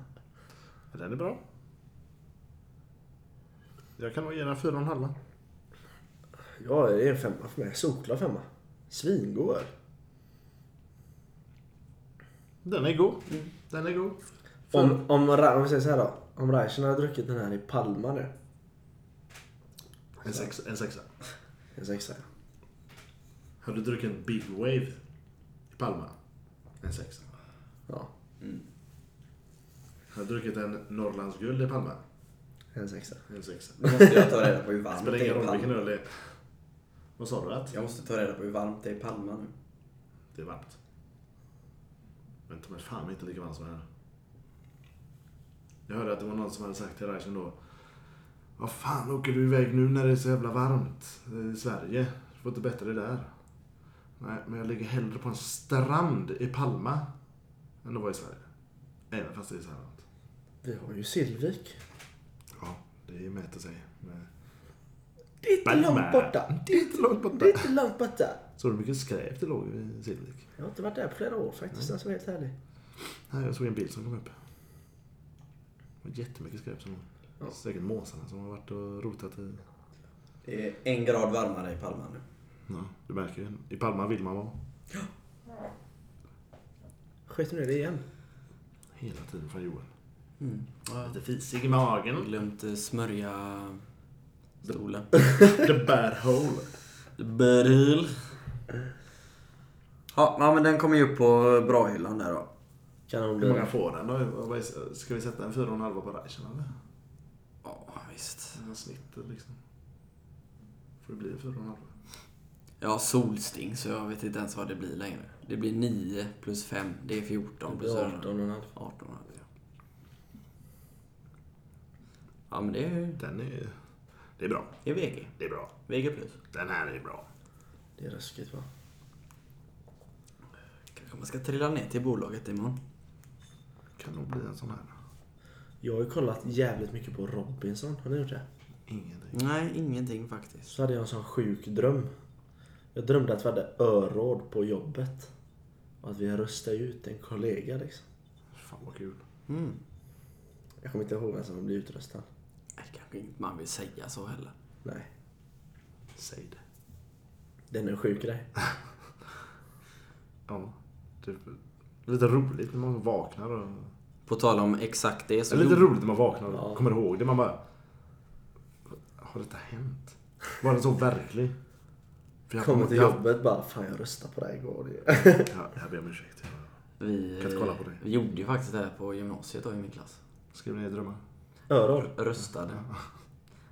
Speaker 2: Den är bra. Jag kan nog ge den fyra och en halva.
Speaker 3: Ja, det är en femma för mig. Solklar femma. Svingod öl.
Speaker 2: Den är god. Den är god.
Speaker 3: Om, om, Ra- om vi säger så här då. Om Reichen hade druckit den här i Palma nu.
Speaker 2: En sexa. En sexa.
Speaker 3: En sexa.
Speaker 2: Har du druckit en Big Wave i Palma? En sexa. Mm.
Speaker 3: Ja,
Speaker 2: Har du druckit en Norrlands guld i Palma?
Speaker 3: en sexa.
Speaker 2: En sexa.
Speaker 1: Nu måste jag ta reda på hur varmt
Speaker 2: Spelar
Speaker 1: det
Speaker 2: ingen
Speaker 1: är i
Speaker 2: roll vilken
Speaker 1: Palma.
Speaker 2: öl det är. Vad sa du att?
Speaker 1: Jag måste ta reda på hur varmt det är i Palma nu.
Speaker 2: Det är varmt. Men ta mig fan inte lika varm som här. Jag hörde att det var någon som hade sagt till Reichen då. Vad fan åker du iväg nu när det är så jävla varmt i Sverige? Du får inte bättre det där. Nej, men jag ligger hellre på en strand i Palma än att vara i Sverige. Även fast det är så här varmt.
Speaker 3: Vi har ju Silvik.
Speaker 2: Ja, det mäter sig med...
Speaker 3: Det är inte
Speaker 2: Palma.
Speaker 3: långt borta.
Speaker 2: Det är inte långt borta.
Speaker 3: Det är inte långt borta.
Speaker 2: Så du hur mycket skräp det låg i Silvik?
Speaker 3: Jag har inte varit där på flera år faktiskt, alltså helt ärlig.
Speaker 2: Nej, jag såg en bild som kom upp. Det var jättemycket skräp som låg.
Speaker 3: Ja.
Speaker 2: Säkert måsarna som har varit och rotat i...
Speaker 1: Det är en grad varmare i Palma nu.
Speaker 2: Ja, du märker ju. I Palma vill man vara.
Speaker 3: Skit nu i det igen.
Speaker 2: Hela tiden från Johan.
Speaker 1: Mm.
Speaker 2: Lite fisig i magen.
Speaker 1: Glömt eh, smörja stolen.
Speaker 2: The bad hole.
Speaker 1: Beril. Ja, ja, men den kommer ju upp på bra hyllan där då.
Speaker 2: Hur
Speaker 3: Kanonbil.
Speaker 2: många får den då? Vad är- Ska vi sätta en fyra och en halva på Reichen eller?
Speaker 1: Ja, visst.
Speaker 2: En snitt liksom. Får det bli en fyra och en halva?
Speaker 1: Jag har solsting så jag vet inte ens vad det blir längre. Det blir 9 plus 5. Det är 14 plus 18.
Speaker 3: 18,5.
Speaker 1: 18 ja. ja, men det är,
Speaker 2: Den är... Det är bra.
Speaker 1: det är VG.
Speaker 2: Det är bra.
Speaker 1: VG plus.
Speaker 2: Den här är bra.
Speaker 3: Det är ruskigt va?
Speaker 1: Kanske man ska trilla ner till bolaget imorgon.
Speaker 2: Kan nog bli en sån här.
Speaker 3: Jag har ju kollat jävligt mycket på Robinson. Har ni gjort det?
Speaker 2: Ingenting.
Speaker 1: Nej, ingenting faktiskt.
Speaker 3: Så hade jag en sån sjuk dröm. Jag drömde att vi hade öråd på jobbet. Och att vi röstade ut en kollega liksom.
Speaker 2: Fan vad kul.
Speaker 1: Mm.
Speaker 3: Jag kommer inte ihåg vem som blev utröstad.
Speaker 1: Det är kanske inte man vill säga så heller.
Speaker 3: Nej,
Speaker 2: Säg det.
Speaker 3: den är en sjuk grej.
Speaker 2: Ja. Det är lite roligt när man vaknar och...
Speaker 1: På tal om exakt det så...
Speaker 2: Det är lite roligt när man vaknar och
Speaker 3: Ja.
Speaker 2: kommer ihåg det. Man bara... Har detta hänt? Var den så verklig? För jag
Speaker 3: Kommer till
Speaker 2: jag-
Speaker 3: jobbet bara, fan jag röstade på dig igår.
Speaker 2: Ja, jag ber om ursäkt.
Speaker 1: Vi,
Speaker 2: Kan inte kolla på det.
Speaker 1: vi gjorde ju faktiskt det här på gymnasiet då i min klass.
Speaker 2: Skriv ner drömmar.
Speaker 3: Öråd.
Speaker 1: Röstade.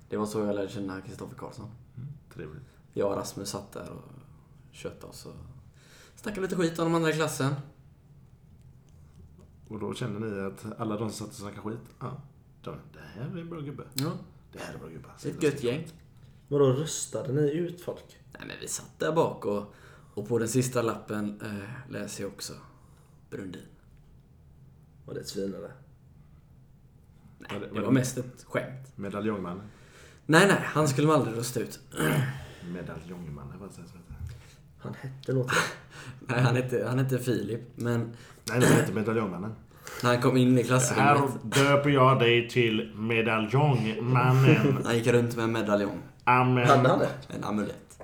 Speaker 1: Det var så jag lärde känna Kristoffer Karlsson.
Speaker 2: Trevligt.
Speaker 1: Jag och Rasmus satt där och köttade oss och snackade lite skit om de andra i klassen.
Speaker 2: Och då känner ni att alla de som satt och snackade skit, ja, de, det här är en bra gubbe.
Speaker 1: Ja,
Speaker 2: Det här är en bra gubbe.
Speaker 1: det är ett gött gäng.
Speaker 3: Vadå röstade ni ut folk?
Speaker 1: Nej men vi satt där bak och, och på den sista lappen eh, läser jag också Brundin.
Speaker 3: Var det ett svin eller?
Speaker 1: Nej, det var mest ett skämt.
Speaker 2: Medaljongmannen.
Speaker 1: Nej, nej, han skulle man aldrig rösta ut.
Speaker 2: Medaljongmannen, vad sägs det?
Speaker 3: Han hette något.
Speaker 1: Nej, han hette, han hette Filip, men
Speaker 2: Nej, nej, det är inte medaljongmannen.
Speaker 1: när han kom in i
Speaker 2: Här
Speaker 1: klassrummet,
Speaker 2: döper jag dig till medaljongmannen.
Speaker 1: han gick runt med en medaljong.
Speaker 2: Amen.
Speaker 3: Hade han det?
Speaker 1: En amulett.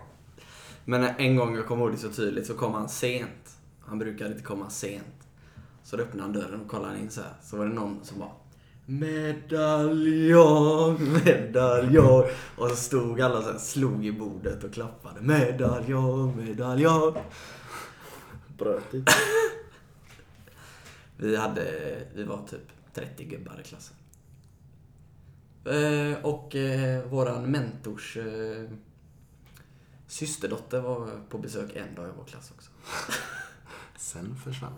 Speaker 1: Men en gång, jag kommer ihåg det så tydligt, så kom han sent. Han brukade inte komma sent. Så då öppnade han dörren och kollade in så här. Så var det någon som bara Medaljong, medaljong. Och så stod alla så här, slog i bordet och klappade. Medaljong, medaljong.
Speaker 3: Bröt inte.
Speaker 1: Vi hade, vi var typ 30 gubbar i klassen. Eh, och eh, våran mentors eh, systerdotter var på besök en dag i vår klass också.
Speaker 2: Sen försvann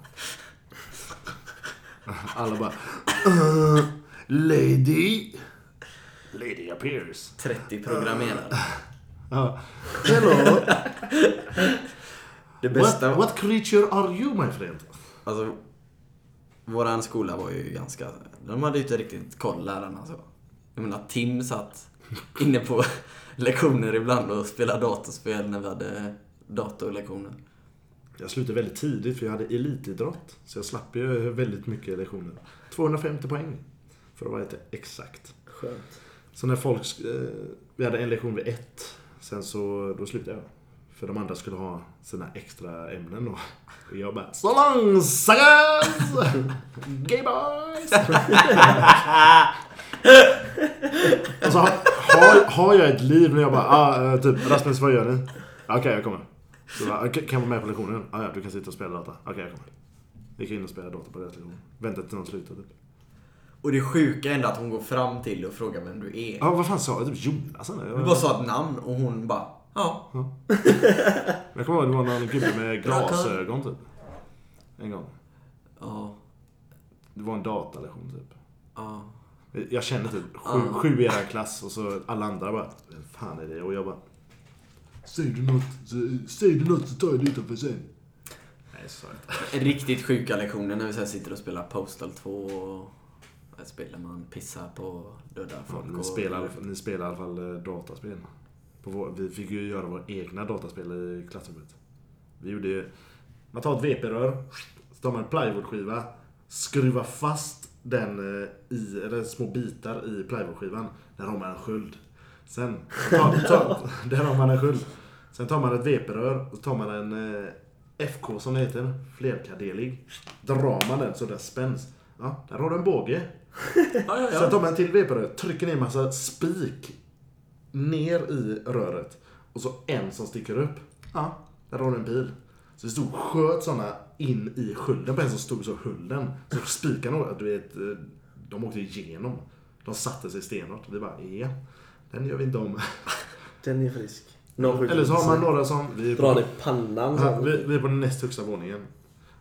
Speaker 2: Alla bara... "Uh, lady... Lady appears.
Speaker 1: 30 programmerare.
Speaker 2: Ja. Hello,
Speaker 1: Det
Speaker 2: what,
Speaker 1: bästa var...
Speaker 2: what creature are you my friend?
Speaker 1: Alltså, våran skola var ju ganska... De hade ju inte riktigt koll lärarna så. Jag menar, Tim satt inne på lektioner ibland och spelade datorspel när vi hade datorlektioner.
Speaker 2: Jag slutade väldigt tidigt för jag hade elitidrott. Så jag slapp ju väldigt mycket lektioner. 250 poäng. För att vara lite exakt.
Speaker 3: Skönt.
Speaker 2: Så när folk... sk- eh, Vi hade en lektion vid ett. Sen så, då slutade jag. För de andra skulle ha sina extra ämnen då. Och jag bara Så långsamt! Gay boys! Och så har, har, har jag ett liv när jag bara ah, eh, typ Rasmus vad gör ni? "Ah, Okej jag kommer. Så bara, "Okej, kan jag vara med på lektionen? Ah, ja, du kan sitta och spela data. Okej jag kommer. Gick in och spelade data på deras lektion. Väntade tills de slutade. typ.
Speaker 1: Och det sjuka är ändå att hon går fram till och frågar vem du är.
Speaker 2: Ja ah, vad fan sa jag? Typ Jonas eller?
Speaker 1: Du bara sa ett namn och hon bara ja.
Speaker 2: Jag kommer ihåg det var någon gubbe med glasögon typ. En gång.
Speaker 1: Ja.
Speaker 2: Det var en datalektion typ.
Speaker 1: Ja.
Speaker 2: Jag kände typ sju,
Speaker 1: Ja.
Speaker 2: sju i er klass och så alla andra bara, vem fan är det? Och jag bara, säger du något, så- säger du något så tar jag det utanför sen. Nej, så
Speaker 1: Riktigt sjuka lektioner när vi sen sitter och spelar Postal 2 och där spelar man pissar på döda folk.
Speaker 2: Fan, ni,
Speaker 1: och-
Speaker 2: spelar, i alla fall- ni spelar i alla fall eh, dataspel. På vår, vi fick ju göra våra egna dataspel i klassrummet. Vi gjorde ju... Man tar ett VP-rör, så tar man en plywoodskiva, skruvar fast den eh, i, eller små bitar i plywoodskivan. Där har man en sköld. Sen, tar, tar, där har man en sköld. Sen tar man ett VP-rör och så tar man en eh, FK som det heter, flerkardelig. Drar man den så den spänns. Ja, där har du en båge.
Speaker 1: Ja, ja,
Speaker 2: Sen
Speaker 1: ja.
Speaker 2: tar man en till veprör, trycker ner en massa spik ner i röret. Och så en som sticker upp. Ja, där har du en pil. Så vi stod och sköt såna in i skölden på en som stod så höll den. Så spikarna, du vet, eh, de åkte igenom. De satte sig stenhårt. Vi bara, ja, den gör vi inte om.
Speaker 3: Den är frisk. Någon sjuk-
Speaker 2: Eller så har man några som... Vi är
Speaker 3: Dra
Speaker 2: på,
Speaker 3: dig i pannan.
Speaker 2: Ja, vi, vi är på den näst högsta våningen.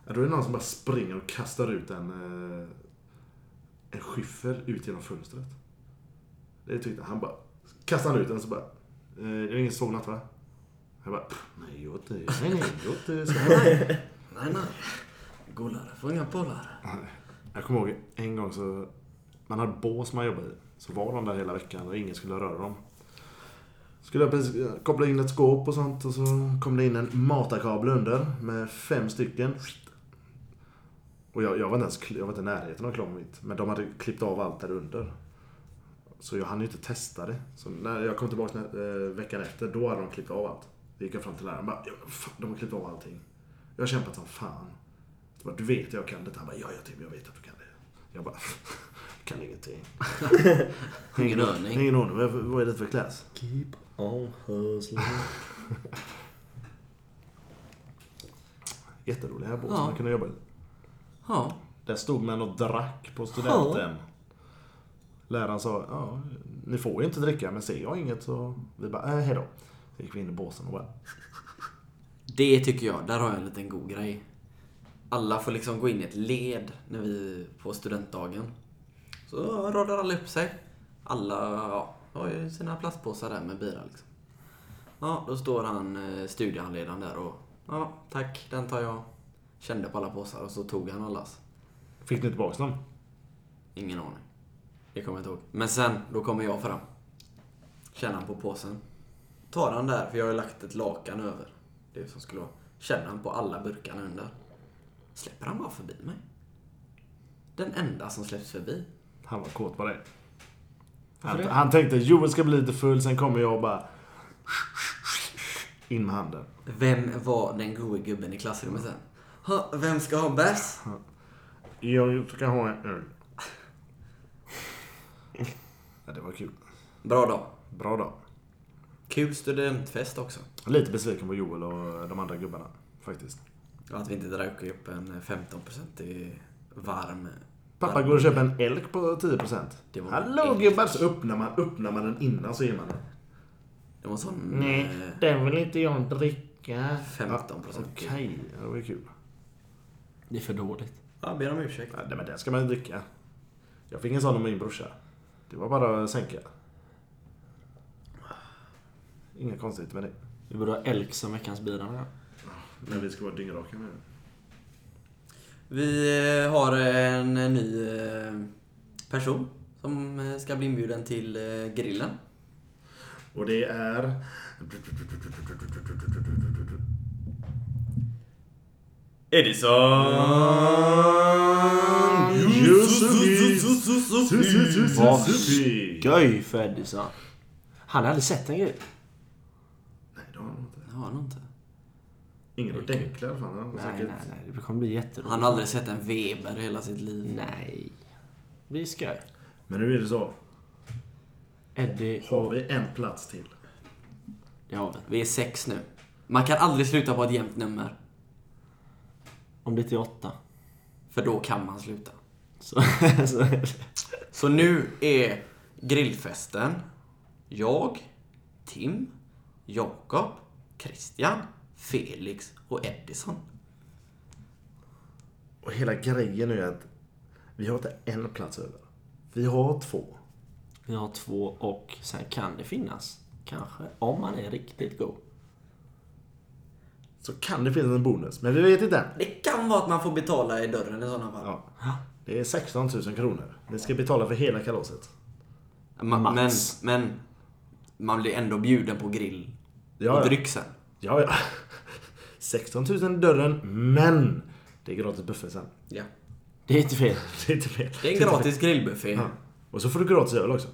Speaker 2: Ja, Då är det någon som bara springer och kastar ut en, eh, en skyffel ut genom fönstret. Det tyckte han. han bara. Kastar han ut den så bara. Eh, det är ingen som såg något va? Jag bara. "Pff, Nej, jag åt det. Nej, nej, jag åt det. Så här."
Speaker 1: Nej, nej. Golare får inga bollar.
Speaker 2: Jag kommer ihåg en gång så. Man hade bås man jobbade i. Så var de där hela veckan och ingen skulle röra dem. Skulle jag precis eh, koppla in ett skåp och sånt och så kom det in en matarkabel under med fem stycken. Och jag, jag var inte ens kl- jag var inte i närheten av klar med mitt. Men de hade klippt av allt där under. Så jag hann ju inte testa det. Så när jag kom tillbaka nä- eh, veckan efter, då hade de klippt av allt. Då gick jag fram till läraren och bara, "Ja, fan, de har klippt av allting. Jag har kämpat som fan. Jag bara, du vet att jag kan det. Han bara, ja, jag, Tim, jag vet att du kan det. Jag bara, jag kan ingenting.
Speaker 1: Ingen aning.
Speaker 2: Ingen aning. Vad- Vad är det för klass?
Speaker 3: Keep on hustling.
Speaker 2: Jätteroliga båt
Speaker 1: Ja.
Speaker 2: som man kunde jobba i.
Speaker 1: Ja.
Speaker 2: Där stod man och drack på studenten. Läraren sa, ja, ni får ju inte dricka men ser jag inget så... Vi bara, äh, hejdå. Så gick vi in i båsen och bara,
Speaker 1: Det tycker jag, där har jag en liten god grej. Alla får liksom gå in i ett led när vi på studentdagen. Så radar alla upp sig. Alla ja, har ju sina plastpåsar där med bira liksom. Ja, då står han, eh, studiehandledaren där och ja, tack, den tar jag. Kände på alla påsar och så tog han allas.
Speaker 2: fick ni tillbaks dem?
Speaker 1: Ingen aning. Det kommer jag inte ihåg. Men sen, då kommer jag fram. Känner han på påsen. Tar han där, för jag har ju lagt ett lakan över. Det som skulle vara. Känner han på alla burkarna under. Släpper han bara förbi mig. Den enda som släpps förbi.
Speaker 2: Han var kåt på det. Han,
Speaker 3: det?
Speaker 2: han tänkte, Joel ska bli lite full, sen kommer jag och bara... In med handen.
Speaker 1: Vem var den gode gubben i klassrummet sen? Ha, vem ska ha bärs?
Speaker 2: Jag ska ha en öl. Ja, det var kul.
Speaker 1: Bra dag.
Speaker 2: Bra dag.
Speaker 1: Kul studentfest också.
Speaker 2: Lite besviken på Joel och de andra gubbarna, faktiskt.
Speaker 1: Och att vi inte drack upp en 15% i varm...
Speaker 2: Pappa går och köper en elk på 10%.
Speaker 1: Det var
Speaker 2: Hallå
Speaker 1: elk.
Speaker 2: gubbar! Så öppnar man, öppnar man den innan så ger man den.
Speaker 1: Det var en sån... eh,
Speaker 2: den vill inte jag dricka.
Speaker 1: 15%.
Speaker 2: Okej, ja, det var ju kul.
Speaker 3: Det är för dåligt.
Speaker 1: Ja, ber om ursäkt.
Speaker 2: Ja, nej, men den ska man ju dricka. Jag fick en sån av min brorsa. Det var bara att sänka. Inget konstigt med det.
Speaker 3: Vi borde ha Elk som veckans bira med.
Speaker 2: Men vi ska vara dyngraka nu.
Speaker 1: Vi eh, har en ny eh, person som eh, ska bli inbjuden till eh, grillen.
Speaker 2: Och det är...
Speaker 1: Edison!
Speaker 3: Vad Göj för Edison. Han hade aldrig sett en grej.
Speaker 2: Nej, det har han inte.
Speaker 1: Det har han inte.
Speaker 2: Ingen ordentlig i alla fall. Han har
Speaker 3: Nej,
Speaker 2: säkert-
Speaker 3: nej, nej. Det kommer bli jätteroligt.
Speaker 1: Han har aldrig sett en Weber i hela sitt liv.
Speaker 3: Nej. Vi ska.
Speaker 2: Men nu är det så.
Speaker 3: Eddie
Speaker 2: Har
Speaker 3: och...
Speaker 2: vi en plats till?
Speaker 1: Det har vi. Vi är sex nu. Man kan aldrig sluta på ett jämnt nummer.
Speaker 3: Om det inte är åtta.
Speaker 1: För då kan man sluta.
Speaker 3: Så, så är det.
Speaker 1: Så nu är grillfesten. Jag, Tim, Jakob, Christian, Felix och Edison.
Speaker 2: Och hela grejen är att vi har inte en plats över. Vi har två.
Speaker 3: Vi har två och sen kan det finnas, kanske, om man är riktigt god.
Speaker 2: Så kan det finnas en bonus, men vi vet inte än.
Speaker 1: Det kan vara att man får betala i dörren i sådana fall.
Speaker 2: Ja. Det är 16 000 kronor. Ni ska betala för hela kalaset.
Speaker 1: Ma- men,
Speaker 3: Max.
Speaker 1: men man blir ändå bjuden på grill
Speaker 2: Ja,
Speaker 1: och
Speaker 2: ja.
Speaker 1: dryck sen.
Speaker 2: Ja, ja. 16 000 i dörren, men det är gratis buffé sen.
Speaker 1: Ja. Typ.
Speaker 3: Det är inte fel.
Speaker 2: Det är inte fel.
Speaker 1: Det är en gratis grillbuffé.
Speaker 2: Ja. Och så får du gratis öl också.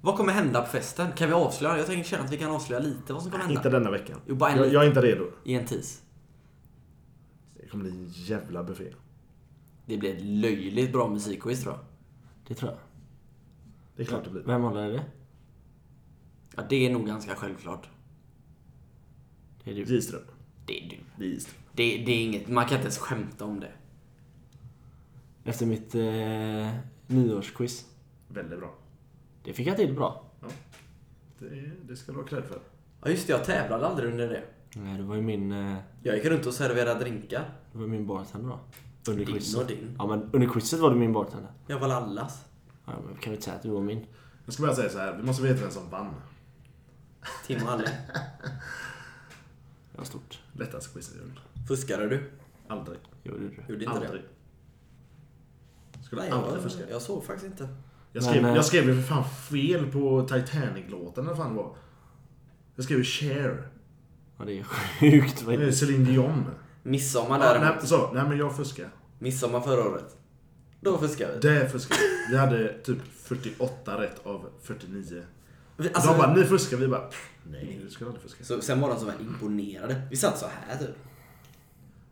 Speaker 1: Vad kommer hända på festen? Kan vi avslöja? Jag tänker känna att vi kan avslöja lite vad som kommer hända.
Speaker 2: Inte denna veckan.
Speaker 1: Jo, bara en
Speaker 2: jag,
Speaker 1: liten.
Speaker 2: jag är inte redo.
Speaker 1: I en tis.
Speaker 2: Det kommer bli en jävla buffé.
Speaker 1: Det blir ett löjligt bra musikquiz tror jag.
Speaker 3: Det tror jag.
Speaker 2: Det är klart det blir.
Speaker 3: Vem håller i det?
Speaker 1: Ja, det är nog ganska självklart.
Speaker 3: Det är du.
Speaker 2: Giström.
Speaker 1: Det är du.
Speaker 2: Giström.
Speaker 1: Det, det är inget, man kan inte ens skämta om det.
Speaker 3: Efter mitt eh, nyårsquiz.
Speaker 2: Väldigt bra.
Speaker 3: Det fick jag till bra.
Speaker 2: Det, det ska du ha cred för.
Speaker 1: Ja just det, jag tävlade aldrig under det.
Speaker 3: Nej, det var ju min, eh,
Speaker 1: Jag gick runt och serverade drinkar.
Speaker 3: det var min bartender då. Under
Speaker 1: Din
Speaker 3: quizet.
Speaker 1: och din.
Speaker 3: Ja, men under quizet var du min bartender.
Speaker 1: Jag var allas.
Speaker 3: Ja, men kan vi inte säga att du var min?
Speaker 2: Jag ska bara säga så här. vi måste veta vem som vann.
Speaker 1: Tim och Alle.
Speaker 3: Det var stort.
Speaker 2: Lättaste quizet jag gjort.
Speaker 1: Fuskade du?
Speaker 2: Aldrig.
Speaker 3: Gjorde du det?
Speaker 1: Gjorde inte
Speaker 2: Aldrig.
Speaker 1: det?
Speaker 2: Skulle
Speaker 1: Nej,
Speaker 2: aldrig
Speaker 1: jag,
Speaker 2: fuska.
Speaker 1: jag såg faktiskt inte.
Speaker 2: Jag skrev,
Speaker 3: Men, eh,
Speaker 2: jag skrev ju för fan fel på Titanic-låten eller vad fan det var. Jag skrev ju Cher.
Speaker 3: Ja, det är sjukt. Vad är
Speaker 2: Eh,
Speaker 3: det?
Speaker 2: Celine Dion.
Speaker 1: Midsommar
Speaker 2: Ja, nej,
Speaker 1: däremot.
Speaker 2: så, nej men jag fuskar.
Speaker 1: Midsommar förra året. Då fuskade vi.
Speaker 2: Det fuskar vi. Vi hade typ 48 rätt av 49.
Speaker 1: vi
Speaker 2: de bara,
Speaker 1: alltså,
Speaker 2: ni fuskar. Vi bara, "Pff, nej du skulle aldrig fuska.
Speaker 1: så, sen var de så väl imponerade. Vi satt så här typ.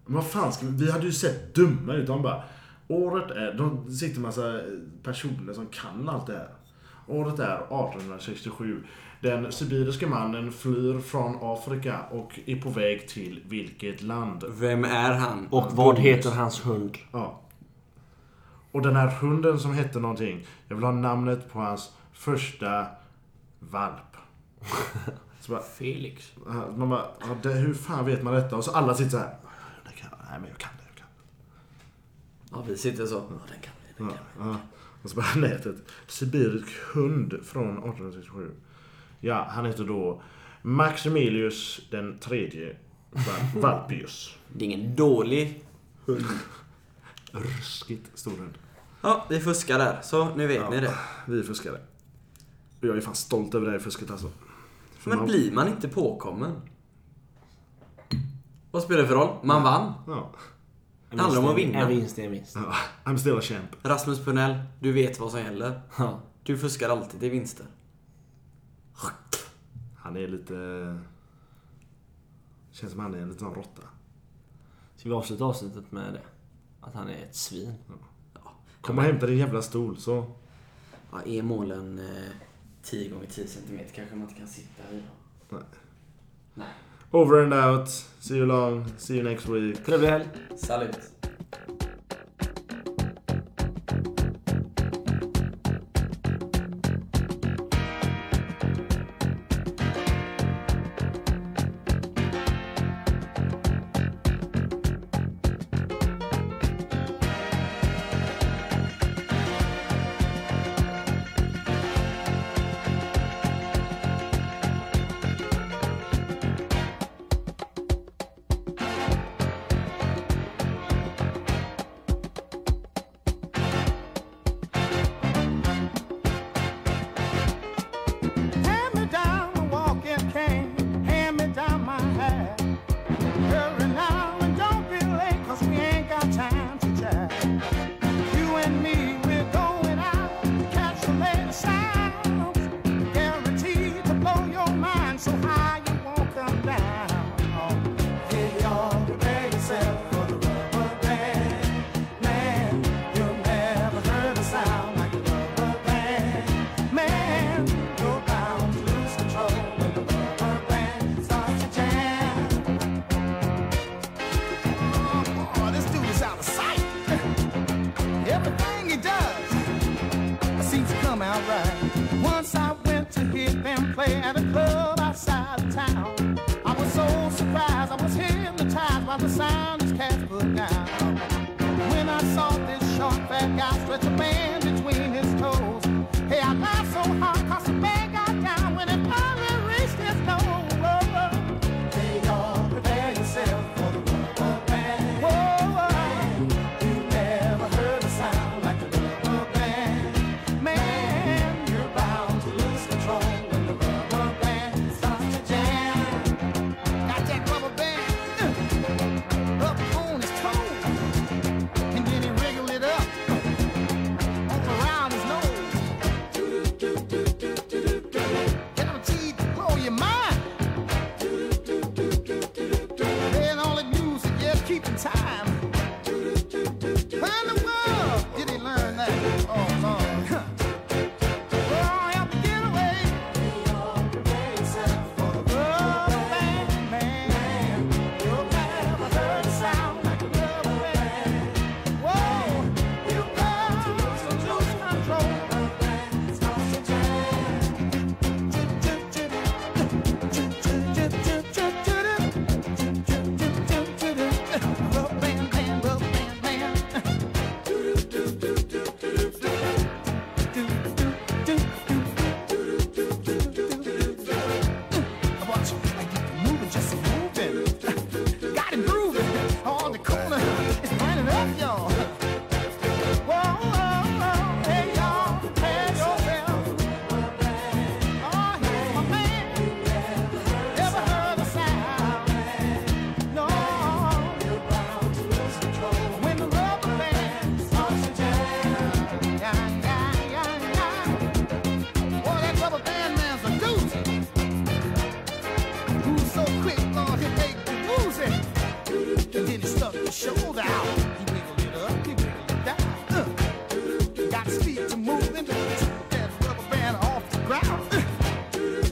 Speaker 2: Men vad fan, ska vi, vi hade ju sett dumma ut. De bara, året är... De sitter en massa personer som kan allt det här. Året är 1867. Den sibiriske mannen flyr från Afrika och är på väg till vilket land?
Speaker 1: Vem är han?
Speaker 3: Och vad heter hans hund?
Speaker 2: Ja. Och den här hunden som hette någonting. Jag vill ha namnet på hans första valp. Så bara,
Speaker 1: Felix.
Speaker 2: man bara, ja, det, hur fan vet man detta? Och så alla sitter så här. "Det kan- Nej men jag kan det, jag kan det.
Speaker 1: Ja, vi sitter så. Ja, den kan vi. Den
Speaker 2: Ja,
Speaker 1: kan vi.
Speaker 2: ja. Och så bara nätet. Sibirisk hund från 1867. Ja, han heter då Maximilius den tredje Val- Valpius.
Speaker 1: Det är ingen dålig hund.
Speaker 2: Ruskigt stor hund.
Speaker 1: Ja, vi fuskar där. Så, nu vet ni det.
Speaker 2: Vi fuskade. Och jag är fan stolt över det här fusket alltså. För
Speaker 1: Men
Speaker 2: man-
Speaker 1: blir man inte påkommen? Vad spelar det för roll? Man vann.
Speaker 2: Ja.
Speaker 3: En
Speaker 1: handlar om
Speaker 3: vinst
Speaker 1: att
Speaker 3: är-
Speaker 1: vinna.
Speaker 3: En vinst är en vinst.
Speaker 2: ja. I'm still a champ.
Speaker 1: Rasmus Punell, du vet vad som gäller.
Speaker 3: Ja.
Speaker 1: Du fuskar alltid till vinster.
Speaker 2: Han är lite... Känns som han är en liten sån råtta.
Speaker 3: Ska vi avsluta avsnittet med det? Att han är ett svin.
Speaker 2: Kom och hämta din jävla stol så...
Speaker 1: Ja, är målen eh, 10 gånger 10 cm kanske man inte kan sitta i.
Speaker 2: Nej.
Speaker 1: Nej.
Speaker 2: Over and out. See you long. See you next week.
Speaker 3: Trevlig helg!
Speaker 1: Salut!
Speaker 5: Uh, take the time. How in the world did he learn that? Oh, Lord. Huh. Well, I have to get away. Oh, man, man. Oh, man, I heard it sound like a rubber band. Whoa, you got to lose control. Rubber band, band, rubber band, band. Watch, I keep moving, just moving. Got it grooving on the corner. It's lining up, y'all. Whoa, whoa, whoa, hey y'all, hey yourself. Oh, here's my man. Never heard a sound. No. When the rubber band starts to jam, yeah, yeah, yeah, yeah. Boy, that rubber band man's a doozy. Move so quick, Lord, he make you lose it. And then he stuck his shoulder out. He wiggled it up, he wiggled it down. Uh, got his feet to moving, took that rubber band off the ground. Uh,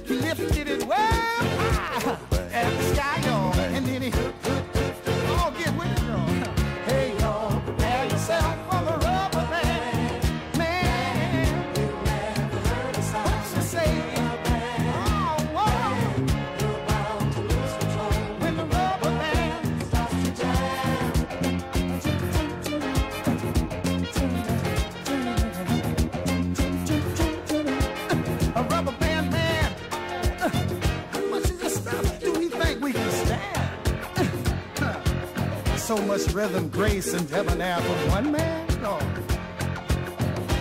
Speaker 5: he lifted it well high at the sky, y'all. And then he hooked it. Oh, get with it, y'all. Hey, y'all, prepare yourself for the rubber band. Man, you never heard a sound. say? Oh, whoa. When the rubber band starts to jam, a rubber band man. How much of this stuff do we think we can stand? So much rhythm, grace, and debonair for one man. No.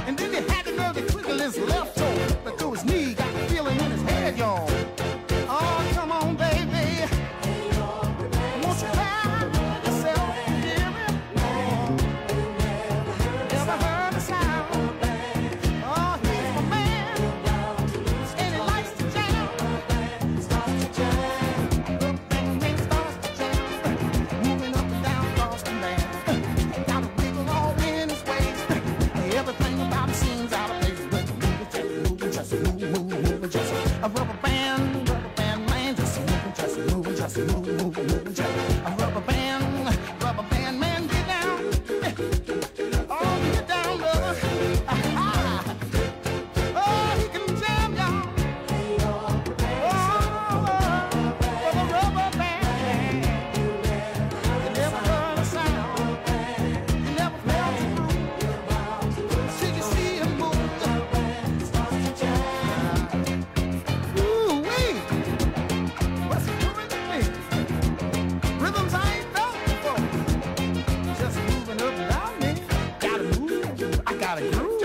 Speaker 5: And then he had the nerve to twiddle his left toe, but through his knee got the feeling in his head, y'all. Oh, come on, baby. Won't you try yourself, dearie? Never heard a sound. Oh, he's my man, and he likes to jam. Everything starts to jam. Moving up and down across the land. Got a wiggle all in his waist. Everything about him seems out of place, but moving, just moving, just moving, moving, just a rubber band, rubber band man, just moving, just moving, just moving, moving, moving, just a rubber band, rubber band man, get down. Oh, get down, brother. Aha. Oh, he can jam, y'all. Oh, for the rubber band. You never heard a sound. You never felt it. Did you see him move? Ooh, wee. What's he doing to me? Rhythms I ain't felt before. Just moving up and down, man. Gotta move. I gotta groove.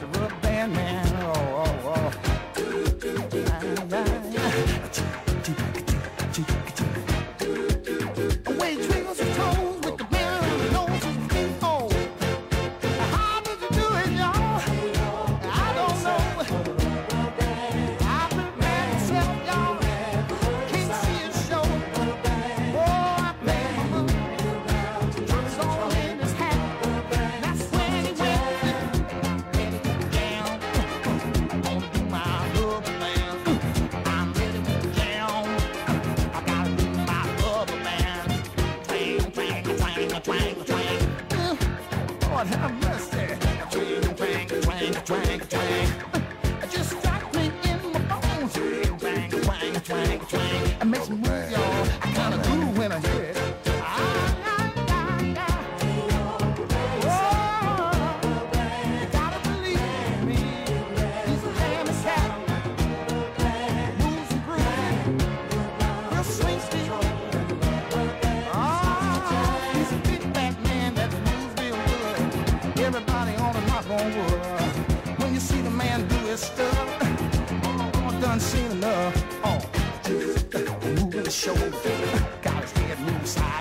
Speaker 5: The rubber band, man. Oh, oh, oh. Away twinkles his toes with the band around the nose of his feet. Oh, how did you do it, y'all? I don't know. I prepared myself, y'all. Can't see a show. Oh, I played my mother. Trunks all in his hat. That's when he went. Ready to down. Gonna do my rubber band. I'm ready to jam. I gotta do my rubber band. Twang, twang, twang, twang, twang. Lord have mercy. Twang, twang, twang, twang, twang. It just struck me in my bones. Twang, twang, twang, twang. It makes me move, y'all. I gotta groove when I hear it. Ah, ah, ah, ah. Whoa. You gotta believe me. He's a damn cat. Moves and grooves. Real swing speed. Oh, Ah, he's a big fat man that moves real good. Everybody ought to knock on wood. When you see the man do his stuff, oh, I'm done seen enough. Oh, moving the shoulder. Got his head moving side